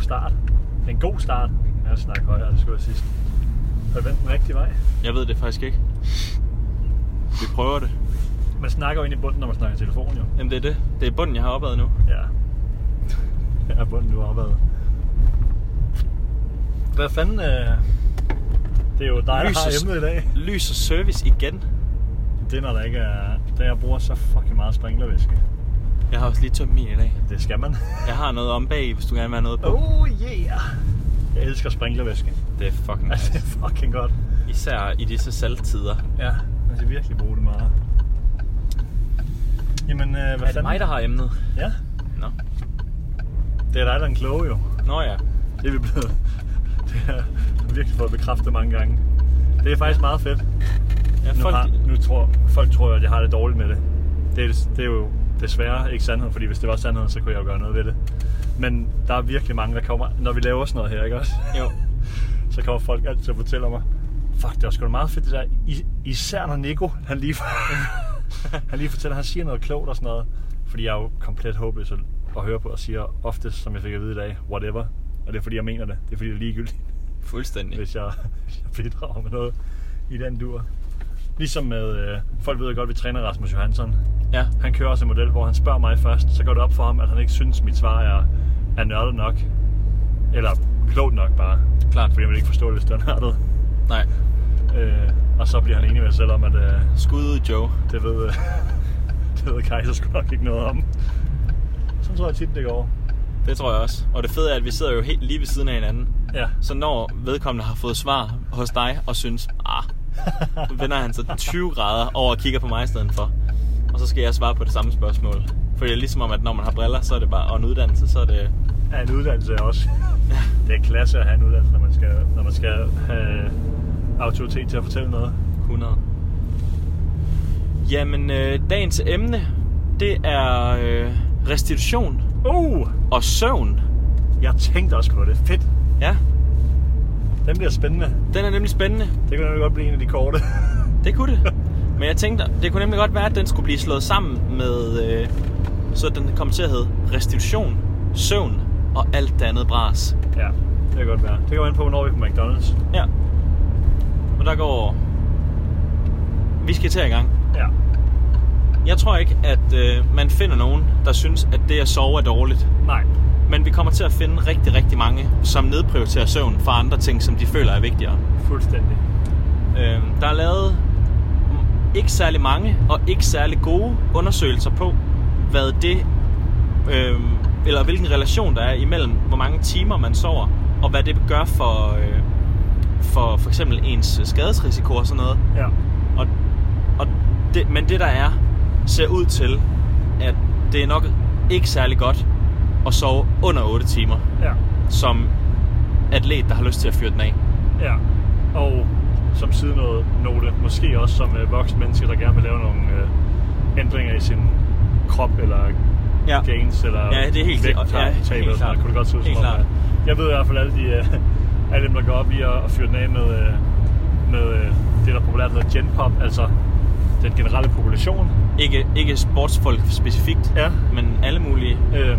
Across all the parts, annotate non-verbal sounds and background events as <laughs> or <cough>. start. Det er en god start. Jeg kan snakke højere, det skulle jeg sidst. Har du vendt den rigtige vej? Jeg ved det faktisk ikke. Vi prøver det. Man snakker jo ind i bunden, når man snakker i telefonen jo. Jamen det er det. Det er bunden, jeg har opad nu. Ja. Jeg er bunden, du har opad. Hvad fanden... Øh... Det er jo dig, der har Lysets- emnet i dag. Lys og service igen. Det er, når der ikke er... Da jeg bruger så fucking meget sprinklervæske. Jeg har også lige tømt min i dag. Det skal man. Jeg har noget om bag, hvis du gerne vil have noget på. Oh yeah! Jeg elsker sprinklervæske. Det er fucking Altså, det nice. <laughs> er fucking godt. Især i disse salttider. Ja, man skal virkelig bruge det meget. Jamen, øh, hvad Er det mig, der har emnet? Ja, Nå. det er dig, der er en kloge jo. Nå ja. Det er vi blevet... <laughs> Det har jeg virkelig fået bekræftet mange gange. Det er faktisk meget fedt. ja Nu, folk, har, nu tror folk tror jo, at jeg har det dårligt med det. Det er, det er jo desværre ikke sandheden, fordi hvis det var sandheden, så kunne jeg jo gøre noget ved det. Men der er virkelig mange, der kommer... Når vi laver sådan noget her, ikke også? Jo. <laughs> så kommer folk altid og fortæller mig, fuck, det var sgu da meget fedt det der, I, især når Nico, han lige, <laughs> han lige fortæller, han siger noget klogt og sådan noget, fordi jeg er jo komplet håbløs at, at høre på, og siger ofte, som jeg fik at vide i dag, whatever, og det er fordi, jeg mener det, det er fordi, det er ligegyldigt, Fuldstændig. hvis jeg, <laughs> hvis jeg bidrager med noget i den dur. Ligesom med, øh, folk ved jo godt, vi træner Rasmus Johansson, Ja. han kører også en model, hvor han spørger mig først, så går det op for ham, at han ikke synes, mit svar er, er nørdet nok, eller klogt nok bare, Klart. fordi han vil ikke forstå det, hvis det var nørdet. Nej. Øh, og så bliver han enig med sig selv om, at øh, Skud ud, Joe. det ved, øh, <laughs> det ved Kaiser sgu nok ikke noget om. Sådan tror jeg tit, det går. Det tror jeg også. Og det fede er, at vi sidder jo helt lige ved siden af hinanden. Ja. Så når vedkommende har fået svar hos dig og synes, ah, så vender han <laughs> sig 20 grader over og kigger på mig i stedet for. Og så skal jeg svare på det samme spørgsmål. Fordi det er ligesom om, at når man har briller, så er det bare, og en uddannelse, så er det... Ja, en uddannelse er også. Det er klasse at have en uddannelse, når man skal, når man skal have autoritet til at fortælle noget. 100. Jamen, øh, dagens emne, det er øh, restitution Uh! og søvn. Jeg tænkte også på det. Fedt. Ja, Den bliver spændende. den er nemlig spændende. Det kan nemlig godt blive en af de korte. Det kunne det. Men jeg tænkte, det kunne nemlig godt være, at den skulle blive slået sammen med, øh, så den kom til at hedde restitution, søvn og alt det andet bras. <laughs> ja, det kan godt være. Det kommer an på, hvornår vi er på McDonald's. Ja. Og der går... Vi skal til i gang. Ja. Jeg tror ikke, at øh, man finder nogen, der synes, at det at sove er dårligt. Nej. Men vi kommer til at finde rigtig, rigtig mange, som nedprioriterer søvn fra andre ting, som de føler er vigtigere. Fuldstændig. Øh, der er lavet mm, ikke særlig mange og ikke særlig gode undersøgelser på, hvad det, øh, eller hvilken relation der er imellem, hvor mange timer man sover, og hvad det gør for, øh, for for eksempel ens skadesrisiko og sådan noget. Ja. Og, og det, men det der er, ser ud til, at det er nok ikke særlig godt at sove under 8 timer, Ja. som atlet, der har lyst til at fyre den af. Ja, og som sidenåde note, måske også som øh, voksen menneske, der gerne vil lave nogle øh, ændringer i sin krop, eller Ja. ja. gains, eller Ja, det er helt klart. Ja, helt vægttab, eller sådan klart. noget. kunne det godt se ud Helt som om, klart. at- Jeg ved i hvert fald alle, de, øh, <laughs> alle dem, der går op i at, at fyre den af med, øh, med øh, det, der populært hedder genpop, altså den generelle population. Ikke, ikke sportsfolk specifikt, Ja. men alle mulige. Øh,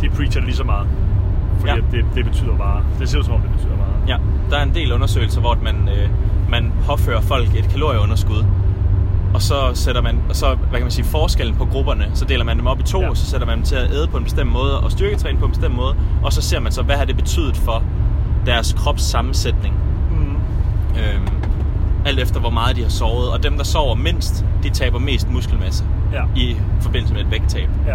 de preacher det lige så meget, fordi Ja. ja. det, det betyder bare, det ser ud som om, det betyder meget. Ja, der er en del undersøgelser, hvor at man, øh, man påfører folk et kalorieunderskud, og så sætter man, og så, hvad kan man sige, forskellen på grupperne, så deler man dem op i to, Ja. ja. så sætter man dem til at æde på en bestemt måde, og styrketræne på en bestemt måde, og så ser man så, hvad har det betydet for deres kropssammensætning, Mm. øh, alt efter hvor meget de har sovet, og dem, der sover mindst, de taber mest muskelmasse Ja. i forbindelse med et vægttab. ja.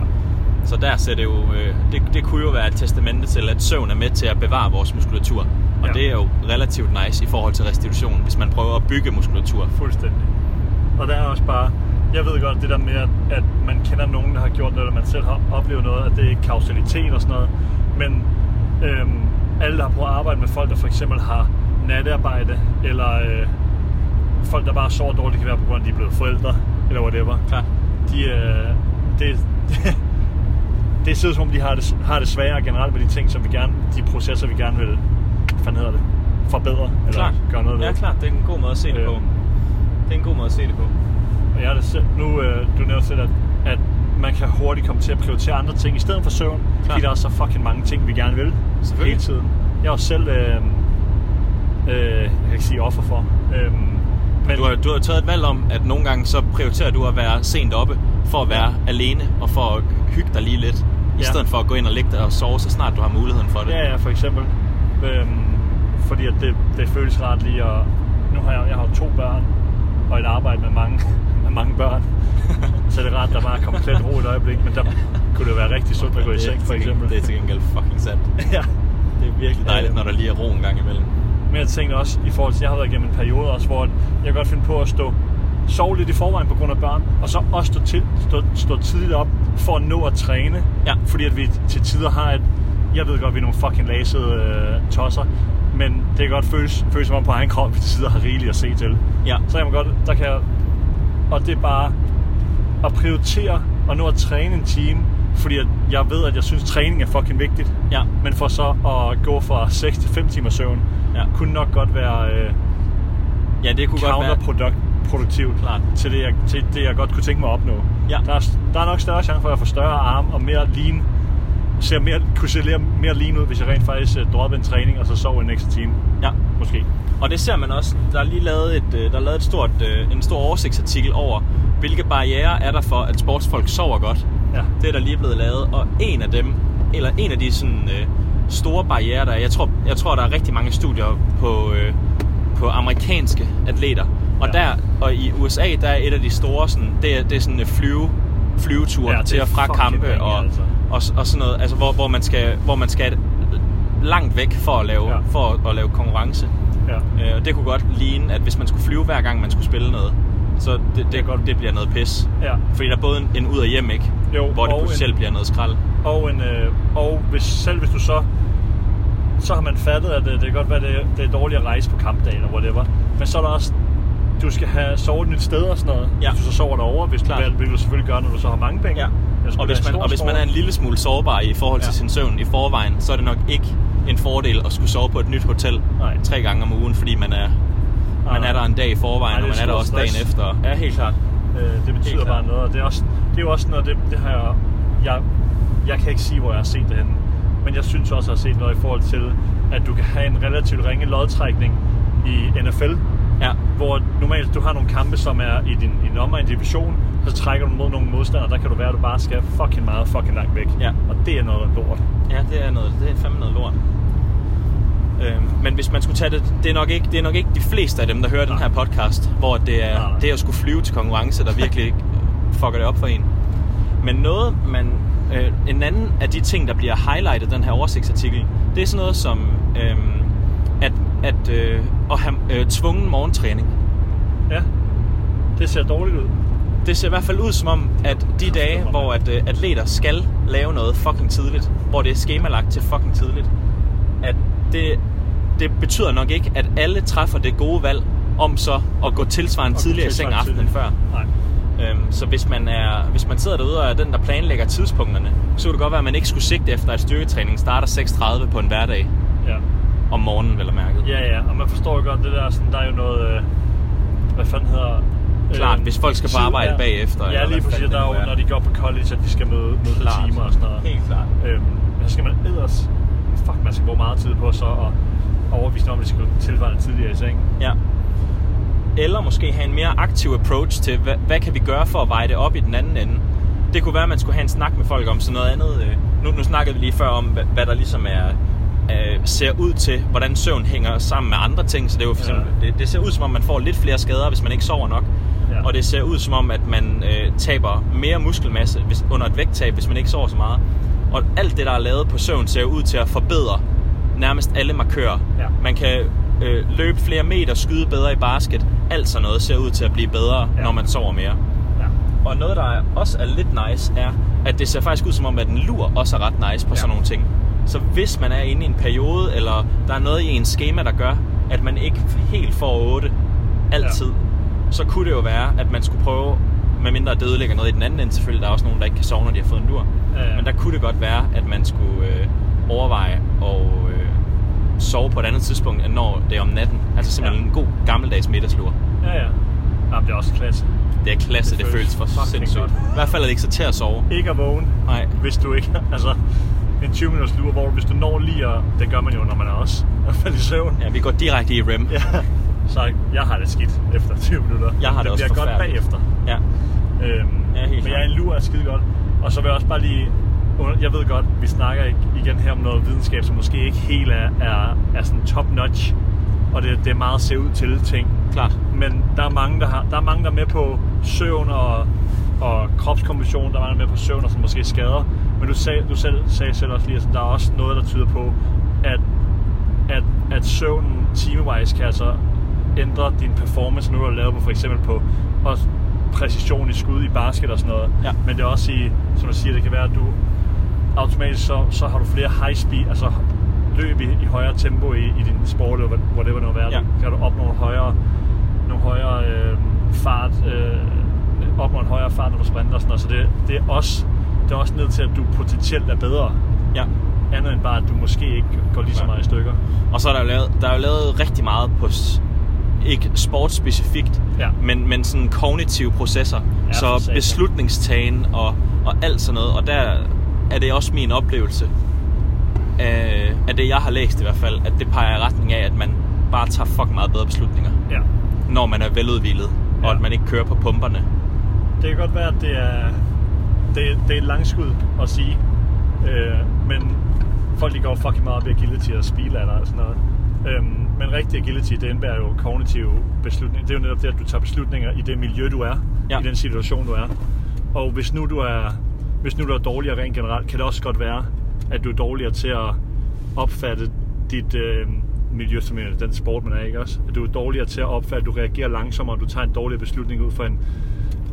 Så der ser det jo, øh, det, det kunne jo være et testamente til, at søvn er med til at bevare vores muskulatur. Og Ja. ja. det er jo relativt nice i forhold til restitution, hvis man prøver at bygge muskulatur. Fuldstændig. Og der er også bare, jeg ved godt det der med, at, at man kender nogen, der har gjort noget, eller man selv har oplevet noget, at det er ikke kausalitet og sådan noget. Men øhm, alle, der har prøvet at arbejde med folk, der for eksempel har nattearbejde, eller øh, folk, der bare sover dårligt, det kan være på grund af, at de er blevet forældre, eller whatever. Klart. De, øh, det, <laughs> det ser ud som om, de har det, har det sværere generelt med de ting, som vi gerne, de processer, vi gerne vil, hvad fanden hedder det, forbedre, eller Klart. gøre noget ved. ja, klart. Det er en god måde at se det Øh. på. Det er en god måde at se det på. Og jeg er det selv, nu, øh, du nævnte selv, at, at man kan hurtigt komme til at prioritere andre ting i stedet for søvn, Klar. fordi der er så fucking mange ting, vi gerne vil Selvfølgelig. hele tiden. Jeg er jo selv, øh, øh, jeg kan ikke sige offer for, øh, men Du har, du har taget et valg om, at nogle gange så prioriterer du at være sent oppe, for at være alene og for at hygge dig lige lidt, ja. i Ja. stedet for at gå ind og ligge dig og sove, så snart du har muligheden for det. Ja, ja, for eksempel. Øhm, fordi at det, det føles rart lige at... Nu har jeg, jeg har jo to børn, og et arbejde med mange, med mange <laughs> børn. Så er det rart, at der bare er komplet ro et øjeblik, men der kunne det være rigtig sundt at gå i Det er seng, for til gengæld- eksempel. Det er til gengæld fucking sandt. <laughs> ja, det er virkelig Dejligt, når der lige er ro en gang imellem. Men jeg tænkte også, i forhold til, jeg har været igennem en periode også, hvor jeg kan godt finde på at stå sove lidt i forvejen på grund af børn, og så også stå, til, stå, stå tidligt op for at nå at træne. Ja. Fordi at vi til tider har et, jeg ved godt, vi er nogle fucking lasede øh, tosser, men det kan godt føles, føles som om på egen krop, vi til tider har rigeligt at se til. Ja. Så kan man godt, der kan jeg, og det er bare at prioritere og nå at træne en time, fordi at jeg ved, at jeg synes, træning er fucking vigtigt. Ja. Men for så at gå fra 6 til 5 timer søvn, Ja. kunne nok godt være øh, ja, det kunne godt være. counterproduktivt Klart. til, det, jeg, til det, jeg godt kunne tænke mig at opnå. Ja. Der, er, der er nok større chance for, at jeg får større arme og mere lean. Ser mere, kunne se mere- mere lean ud, hvis jeg rent faktisk uh, droppede en træning og så sov en ekstra time. Ja. Måske. Og det ser man også, der er lige lavet, et, øh, der er lavet et stort, øh, en stor oversigtsartikel over, hvilke barriere er der for, at sportsfolk sover godt. Ja. Det er der lige blevet lavet, og en af dem, eller en af de sådan, øh, store barriere, der er, jeg tror, jeg tror, der er rigtig mange studier på, øh, på amerikanske atleter. Og, Ja. der, og i USA, der er et af de store, sådan, det, er, det er sådan øh, flyve, flyveture Ja, ja, det til er og fra fucking kampe vanvittigt, og, altså. og, og sådan noget, altså hvor, hvor, man skal, hvor man skal langt væk for at lave, Ja. ja. for at, at lave konkurrence. ja. Øh, og det kunne godt ligne, at hvis man skulle flyve hver gang, man skulle spille noget, så det, det, godt, det bliver noget pis. Ja. Fordi der er både en, en ud og hjem, ikke? Jo, Hvor det og en- potentielt bliver noget skrald. Og, en, øh, og hvis, selv hvis du så så har man fattet, at øh, det kan godt være, det, det er dårligt at rejse på kampdag eller whatever. Men så er der også, du skal have sovet et nyt sted og sådan noget. Ja. Hvis du så sover derovre, hvis du, Klart. vil, hvilket du selvfølgelig gør, når du så har mange penge. Ja. Ellers Og, skulle det hvis være man, en stor og hvis man stor- er en lille smule sårbar i forhold til Ja. ja. sin søvn i forvejen, så er det nok ikke en fordel at skulle sove på et nyt hotel Nej. tre gange om ugen, fordi man er, man nej. er der en dag i forvejen, Nej, det og er man er der stor også dagen stress. efter. Ja, helt klart. Øh, det betyder Helt klart. bare noget, og det er, også, det er jo også noget, det, det har jeg, jeg, jeg kan ikke sige, hvor jeg har set det henne, men jeg synes også, jeg har set noget i forhold til, at du kan have en relativt ringe lodtrækning i NFL, Ja. hvor normalt du har nogle kampe, som er i din i nummer, i division, så trækker du mod nogle modstandere, der kan du være, at du bare skal fucking meget, fucking langt væk. Ja. Og det er noget lort. Ja, det er, noget, det er fandme noget lort. Øhm, men hvis man skulle tage det, det er, nok ikke, det er nok ikke de fleste af dem, der hører den her podcast, hvor det er Nej, nej. det at skulle flyve til konkurrence, der virkelig <laughs> ikke fucker det op for en. Men noget, man, øh, en anden af de ting, der bliver highlightet i den her oversigtsartikel, det er sådan noget som øhm, at, at, øh, at have øh, tvungen morgentræning. Ja. Det ser dårligt ud. Det ser i hvert fald ud som om, at de dage, hvor at, øh, atleter skal lave noget fucking tidligt, hvor det er skemalagt til fucking tidligt, at det, det betyder nok ikke, at alle træffer det gode valg om så at gå tilsvarende tidligere i seng aftenen før. Nej. Øhm, så hvis man, er, hvis man sidder derude og er den, der planlægger tidspunkterne, så kunne det godt være, at man ikke skulle sigte efter, at styrketræningen starter 6.30 på en hverdag Ja. om morgenen, vel at mærke. Ja, ja, og man forstår jo godt det der, sådan, der er jo noget, øh, hvad fanden hedder... øh, Klart, hvis folk skal på tid- arbejde ja. bagefter, eller Ja, lige hvad præcis, fanden der er det nu jo, er. når de går på college, at de skal møde, møde til Klart. timer og sådan noget. Helt klart. Øhm, men så skal man ellers... Fuck, man skal bruge meget tid på så at overvise nogen, om, at de skal gå tilfælde tidligere i seng. Ja. Eller måske have en mere aktiv approach til, hvad, hvad kan vi gøre for at veje det op i den anden ende. Det kunne være, at man skulle have en snak med folk om sådan noget andet. øh, Nu, nu snakkede vi lige før om, hvad, hvad der ligesom er, øh, ser ud til, hvordan søvn hænger sammen med andre ting. Så det, er jo for Ja. eksempel, det, det ser ud som om, man får lidt flere skader, hvis man ikke sover nok. Ja. Ja. Og det ser ud som om, at man øh, taber mere muskelmasse hvis, under et vægttab, hvis man ikke sover så meget. Og alt det, der er lavet på søvn, ser ud til at forbedre nærmest alle markører. Ja. Man kan øh, løbe flere meter, skyde bedre i basket. Alt sådan noget ser ud til at blive bedre, Ja. ja. når man sover mere. Ja. Og noget, der er- også er lidt nice, er, at det ser faktisk ud som om, at en lur også er ret nice på Ja. ja. sådan nogle ting. Så hvis man er inde i en periode, eller der er noget i ens schema, der gør, at man ikke helt får 8 altid, ja. så kunne det jo være, at man skulle prøve, medmindre det ødelægger noget i den anden ende selvfølgelig, der er også nogen, der ikke kan sove, når de har fået en lur. Ja, ja. Men der kunne det godt være, at man skulle øh, overveje at øh, sove på et andet tidspunkt, end når det er om natten. Altså simpelthen Ja. ja. en god gammeldags middagslur. Ja, ja. Jamen, det er også klasse. Det er klasse, det, Det det føles føles for fucking sindssygt. godt. I hvert fald er det ikke så til at sove. Ikke at vågne, Nej. hvis du ikke... <laughs> Altså, en 20 minutters lur, hvor hvis du når lige at... Det gør man jo, når man er også <laughs> er faldet i søvn. Ja, vi går direkte i REM. Ja. Så jeg har det skidt efter 20 minutter. Jeg har det også bliver godt forfærdeligt. bagefter. Ja. Øhm, Ja, helt ja, men klart. jeg en lur er skide godt. Og så vil jeg også bare lige... under- Jeg ved godt, vi snakker ikke igen her om noget videnskab, som måske ikke helt er, er, er sådan top-notch. Og det, det er meget se ud til ting. Klart. Men der er mange, der, har, der, er mange, der er med på søvn og, og kropskomposition. Der er mange der er med på søvn og som måske skader. Men du sagde, du selv, sagde selv også lige, at der er også noget, der tyder på, at, at, at søvnen timewise kan altså ændre din performance, nu du har lavet på for eksempel på også præcision i skud i basket og sådan noget. Ja. Men det er også i, som du siger, det kan være, at du automatisk så, så har du flere high speed, altså løb i, i højere tempo i, i din sport, eller hvad- whatever det nu er, Ja. ja. kan du opnå en højere, nogle højere øh, fart, øh, opnå en højere fart, når du sprinter og sådan noget. Så det, det, er også, det er også ned til, at du potentielt er bedre, Ja. andet end bare, at du måske ikke går lige så Nej. meget i stykker. Og så er der jo lavet, der er jo lavet rigtig meget på, s- ikke sportsspecifikt, Ja. men, men sådan kognitive processer. Ja, for så satan. beslutningstagen og, og alt sådan noget. Og der er det også min oplevelse af, af det, jeg har læst i hvert fald, at det peger i retning af, at man bare tager fucking meget bedre beslutninger, Ja. når man er veludvildet, ja. Ja. og at man ikke kører på pumperne. Det kan godt være, at det er, det, det er et langskud at sige, øh, men folk de går fucking meget op i agility og speed ladder og sådan noget. Øhm, men rigtig agility, det indebærer jo kognitive beslutninger. Det er jo netop det, at du tager beslutninger i det miljø, du er, Ja. ja. i den situation, du er. Og hvis nu du er, hvis nu du er dårligere rent generelt, kan det også godt være, at du er dårligere til at opfatte dit øh, miljø, som er den sport, man er, ikke også? At du er dårligere til at opfatte, at du reagerer langsommere, og du tager en dårligere beslutning ud fra en,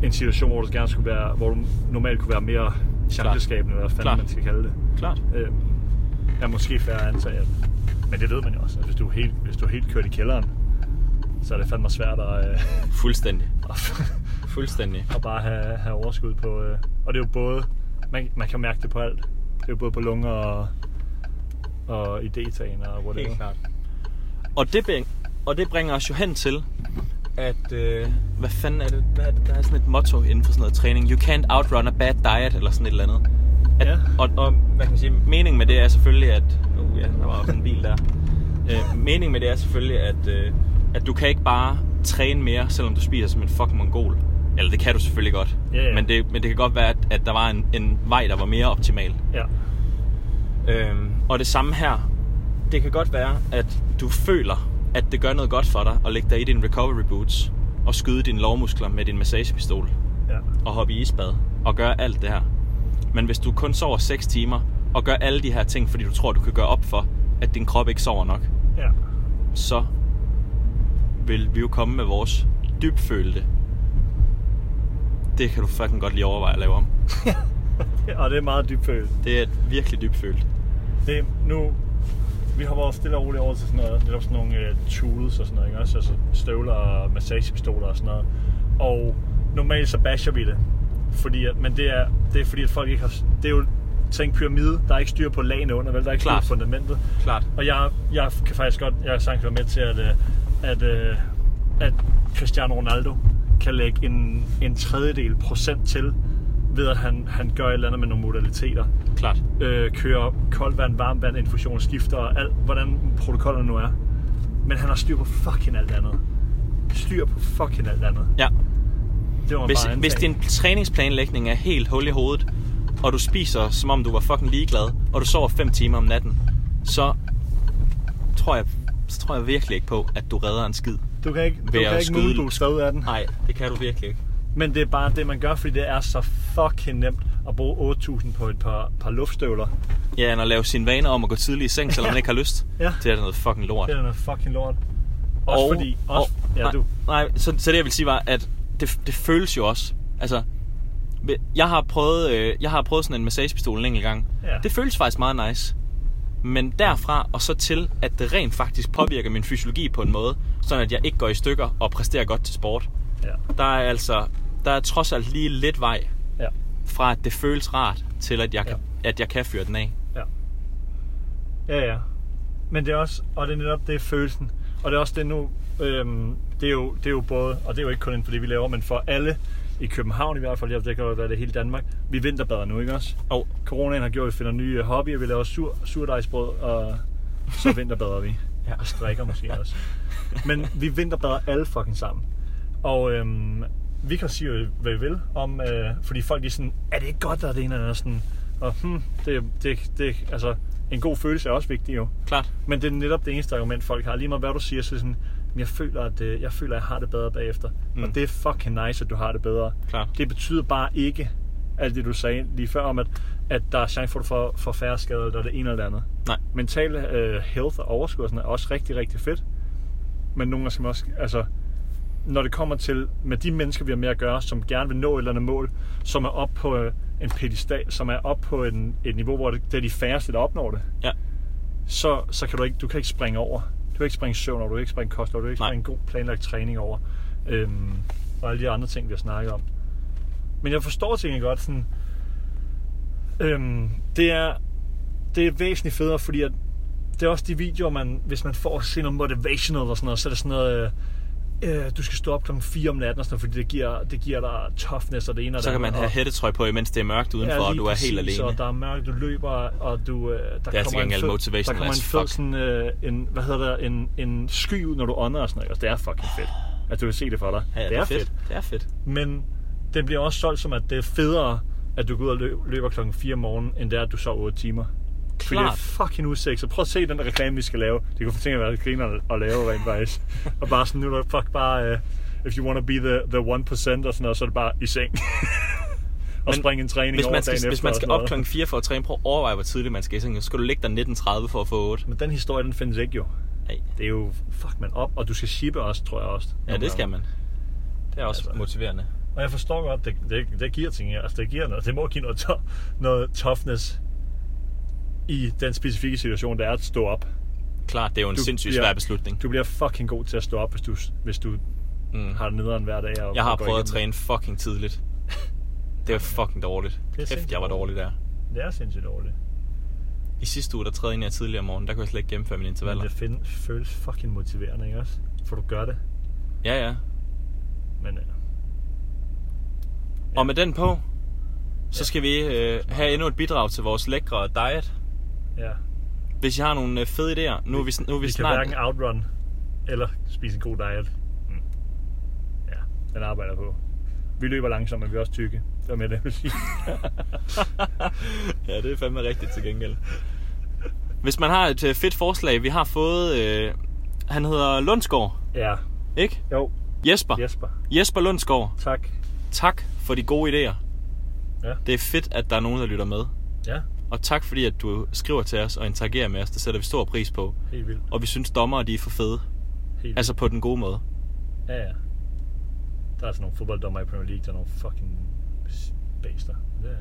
en situation, hvor du gerne skulle være, hvor du normalt kunne være mere chanceskabende, eller hvad fanden Klart. man skal kalde det. Klart. Øh, er måske færre at antage, at, men det ved man jo også, at hvis du er helt, hvis du er helt kørt i kælderen, så er det fandme svært at, øh, Fuldstændig. at, Fuldstændig. at bare have, have overskud på. Øh, og det er jo både, man, man kan mærke det på alt. Det er jo både på lunger og, og idétagen og whatever. Helt klart. Og det, bring, og det bringer os jo hen til, at, øh, hvad fanden er det, hvad er det, der er sådan et motto inden for sådan noget træning, you can't outrun a bad diet, eller sådan et eller andet. At, Ja. og, og, hvad kan man sige, meningen med det er selvfølgelig, at, uh, ja, der var også en bil der. Øh, meningen med det er selvfølgelig, at, øh, at du kan ikke bare træne mere, selvom du spiser som en fucking mongol. Eller det kan du selvfølgelig godt. Ja, ja. Men, det, men det kan godt være, at, at der var en, en vej, der var mere optimal. Ja. Øhm, og det samme her. Det kan godt være, at du føler, at det gør noget godt for dig at lægge dig i dine recovery boots og skyde dine lårmuskler med din massagepistol ja. og hoppe i isbad og gøre alt det her. Men hvis du kun sover 6 timer og gør alle de her ting, fordi du tror, du kan gøre op for, at din krop ikke sover nok, Ja. så vil vi jo komme med vores dybfølte. Det kan du fucking godt lige overveje at lave om. og det er meget dybt følt. Det er et virkelig dybfølt. Det nu, vi hopper også stille og roligt over til sådan noget, netop sådan nogle øh, tools og sådan noget, ikke? også? Altså støvler og massagepistoler og sådan noget. Og normalt så basher vi det, fordi at, men det er, det er fordi, at folk ikke har, det er jo, tænk pyramide, der er ikke styr på lagene under, vel? Der er ikke styr Klart. på fundamentet. Klart. Og jeg, jeg kan faktisk godt, jeg kan sagtens være med til, at, øh, at, øh, at Cristiano Ronaldo kan lægge en, en tredjedel procent til, ved at han, han gør et eller andet med nogle modaliteter. Klart. Øh, kører koldt vand, varmt vand, infusion, skifter og alt, hvordan protokollerne nu er. Men han har styr på fucking alt andet. Styr på fucking alt andet. Ja. Det var Hvis, bare hvis antage. din træningsplanlægning er helt hul i hovedet, og du spiser, som om du var fucking ligeglad, og du sover 5 timer om natten, så tror jeg, så tror jeg virkelig ikke på, at du redder en skid. Du kan ikke, du ved kan at ikke skyde- moonboost dig ud af den. Nej, det kan du virkelig ikke. Men det er bare det, man gør, fordi det er så fucking nemt at bruge 8.000 på et par, par luftstøvler. Ja, end at lave sine vaner om at gå tidligt i <laughs> seng, selvom man ikke har lyst. Ja. Det er da noget fucking lort. Det er da noget fucking lort. Også og, fordi... Også, og, ja, nej, du. Nej, så, så det jeg vil sige var, at det, det føles jo også. Altså, ved- jeg har prøvet, øh, jeg har prøvet sådan en massagepistol en enkelt gang. Ja. Det føles faktisk meget nice. Men derfra og så til, at det rent faktisk påvirker min fysiologi på en måde, sådan at jeg ikke går i stykker og præsterer godt til sport. Ja. Der er altså, der er trods alt lige lidt vej Ja. fra, at det føles rart, til at jeg, kan, at jeg kan fyre den af. Ja. Ja, ja. Men det er også, og det er netop det er følelsen. Og det er også det nu, øhm, det, er jo, det er jo både, og det er jo ikke kun inden for det, vi laver, men for alle i København i hvert fald, jeg det kan jo være det er hele Danmark. Vi vinterbader nu, ikke også? Og Coronaen har gjort, at vi finder nye hobbyer. Vi laver sur, surdejsbrød, og så vinterbader vi. Ja. Og strikker måske også. <laughs> Men vi vinterbader alle fucking sammen. Og øhm, vi kan sige, jo, hvad vi vil. Om, øh, fordi folk de er sådan, er det ikke godt, der er det ene eller andet? Sådan, og hmm, det, det, det, altså, en god følelse er også vigtig jo. klart. Men det er netop det eneste argument, folk har. Lige meget hvad du siger, så er det sådan, "Jamen, jeg føler, at øh, jeg, føler, at jeg har det bedre bagefter. Mm. Mm. Og det er fucking nice, at du har det bedre. Klart. Det betyder bare ikke alt det, du sagde lige før om, at, at der er chance for, at du får, får færre skader, eller det ene eller det andet. Nej. Mental øh, health og overskud og sådan er også rigtig, rigtig fedt. Men nogle gange skal man også, altså, når det kommer til med de mennesker, vi har med at gøre, som gerne vil nå et eller andet mål, som er op på øh, en pedestal, som er op på en, et niveau, hvor det, det er de færreste, der opnår det Ja. så, så kan du ikke, du kan ikke springe over. Du kan ikke springe søvn over, du kan ikke springe kost over, du kan ikke Nej. springe god planlagt træning over. Øhm, og alle de andre ting, vi har snakket om. Men jeg forstår tingene godt. Sådan, øhm, det, er, det er væsentligt federe, fordi at det er også de videoer, man, hvis man får at se noget motivational og sådan noget, så er det sådan noget, øh, øh, du skal stå op klokken 4 om natten, og sådan noget, fordi det giver, det giver dig toughness og det ene og det Så kan man andet, have og- hættetrøj på, imens det er mørkt udenfor, og lige du er helt præcis, alene. Og der er mørkt, du løber, og du, øh, der, Det er til kommer en gengæld fed, der motivational kommer en as fed fuck. sådan, øh, en, hvad hedder det, en, en sky ud, når du ånder og sådan noget. Altså, det er fucking fedt. Altså, du vil se det for dig. Ja, det, er fedt. Det er fedt. Men det bliver også solgt som, at det er federe, at du går ud og løb, løber klokken 4 om morgenen, end det er, at du sover 8 timer. Fordi det er Klart. fucking usægt. Så prøv at se den reklame, vi skal lave. Det kunne for tænke at være lidt griner at lave rent <laughs> faktisk. og bare sådan, nu er der fuck bare, uh, if you want to be the, the 1% og sådan noget, så er det bare i seng. <laughs> og Men springe en træning Hvis over man, skal, dagen hvis efter man og skal sådan op noget. klokken 4 for at træne, prøv at overveje, hvor tidligt man skal i seng. Så skal du ligge dig 19.30 for at få 8. Men den historie, den findes ikke jo. Ej. Det er jo, fuck man, op, og du skal shippe også, tror jeg også. Ja, nogle det skal gange. man. Det er også Altså. motiverende. Og jeg forstår godt, det, det, det giver ting, altså det giver noget, det må give noget, to, noget toughness i den specifikke situation, der er at stå op. Klart, det er jo en Du sindssygt bliver- svær beslutning. Du bliver fucking god til at stå op, hvis du, hvis du Mm. har det nederen hver dag. Og Jeg har og går prøvet at igennem træne fucking tidligt. <laughs> Det var fucking dårligt. Det er Kæft, sindssygt jeg var dårlig dårligt. der. det. Det er sindssygt dårligt. I sidste uge, der trædede ind jeg tidligere om morgenen, der kunne jeg slet ikke gennemføre mine Men intervaller. det find, føles fucking motiverende, ikke også? For du gør det. Ja, ja. Men øh, Og med den på, så Ja. skal vi øh, have endnu et bidrag til vores lækre diet. ja, Hvis I har nogle øh, fede idéer, nu er vi, sn- nu er vi, vi vi, kan snart... hverken outrun eller spise en god diet. Mm. Ja, den arbejder jeg på. Vi løber langsomt, men vi er også tykke. Det var med det, jeg ville sige. <laughs> ja, det er fandme rigtigt til gengæld. Hvis man har et øh, fedt forslag, vi har fået... Øh, han hedder Lundsgaard, ja, ikke? jo, Jesper. Jesper. Jesper Lundsgaard, Tak. tak for de gode idéer. Ja. Det er fedt, at der er nogen, der lytter med. Ja, Og tak fordi, at du skriver til os og interagerer med os. Det sætter vi stor pris på. helt vildt. Og vi synes, dommere de er for fede. Helt vildt. Altså på den gode måde. Ja, ja. Der er sådan nogle fodbolddommer i Premier League, der er nogle fucking baster. Det er...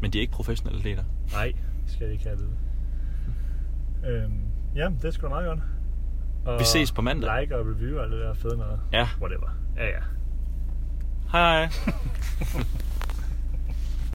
Men de er ikke professionelle atleter. Nej, det skal jeg ikke have det. Øhm, ja, det er sgu da meget godt. Og Vi ses på mandag. Like og review og alt det der fede noget. Ja. Whatever. Ja, ja. Hej.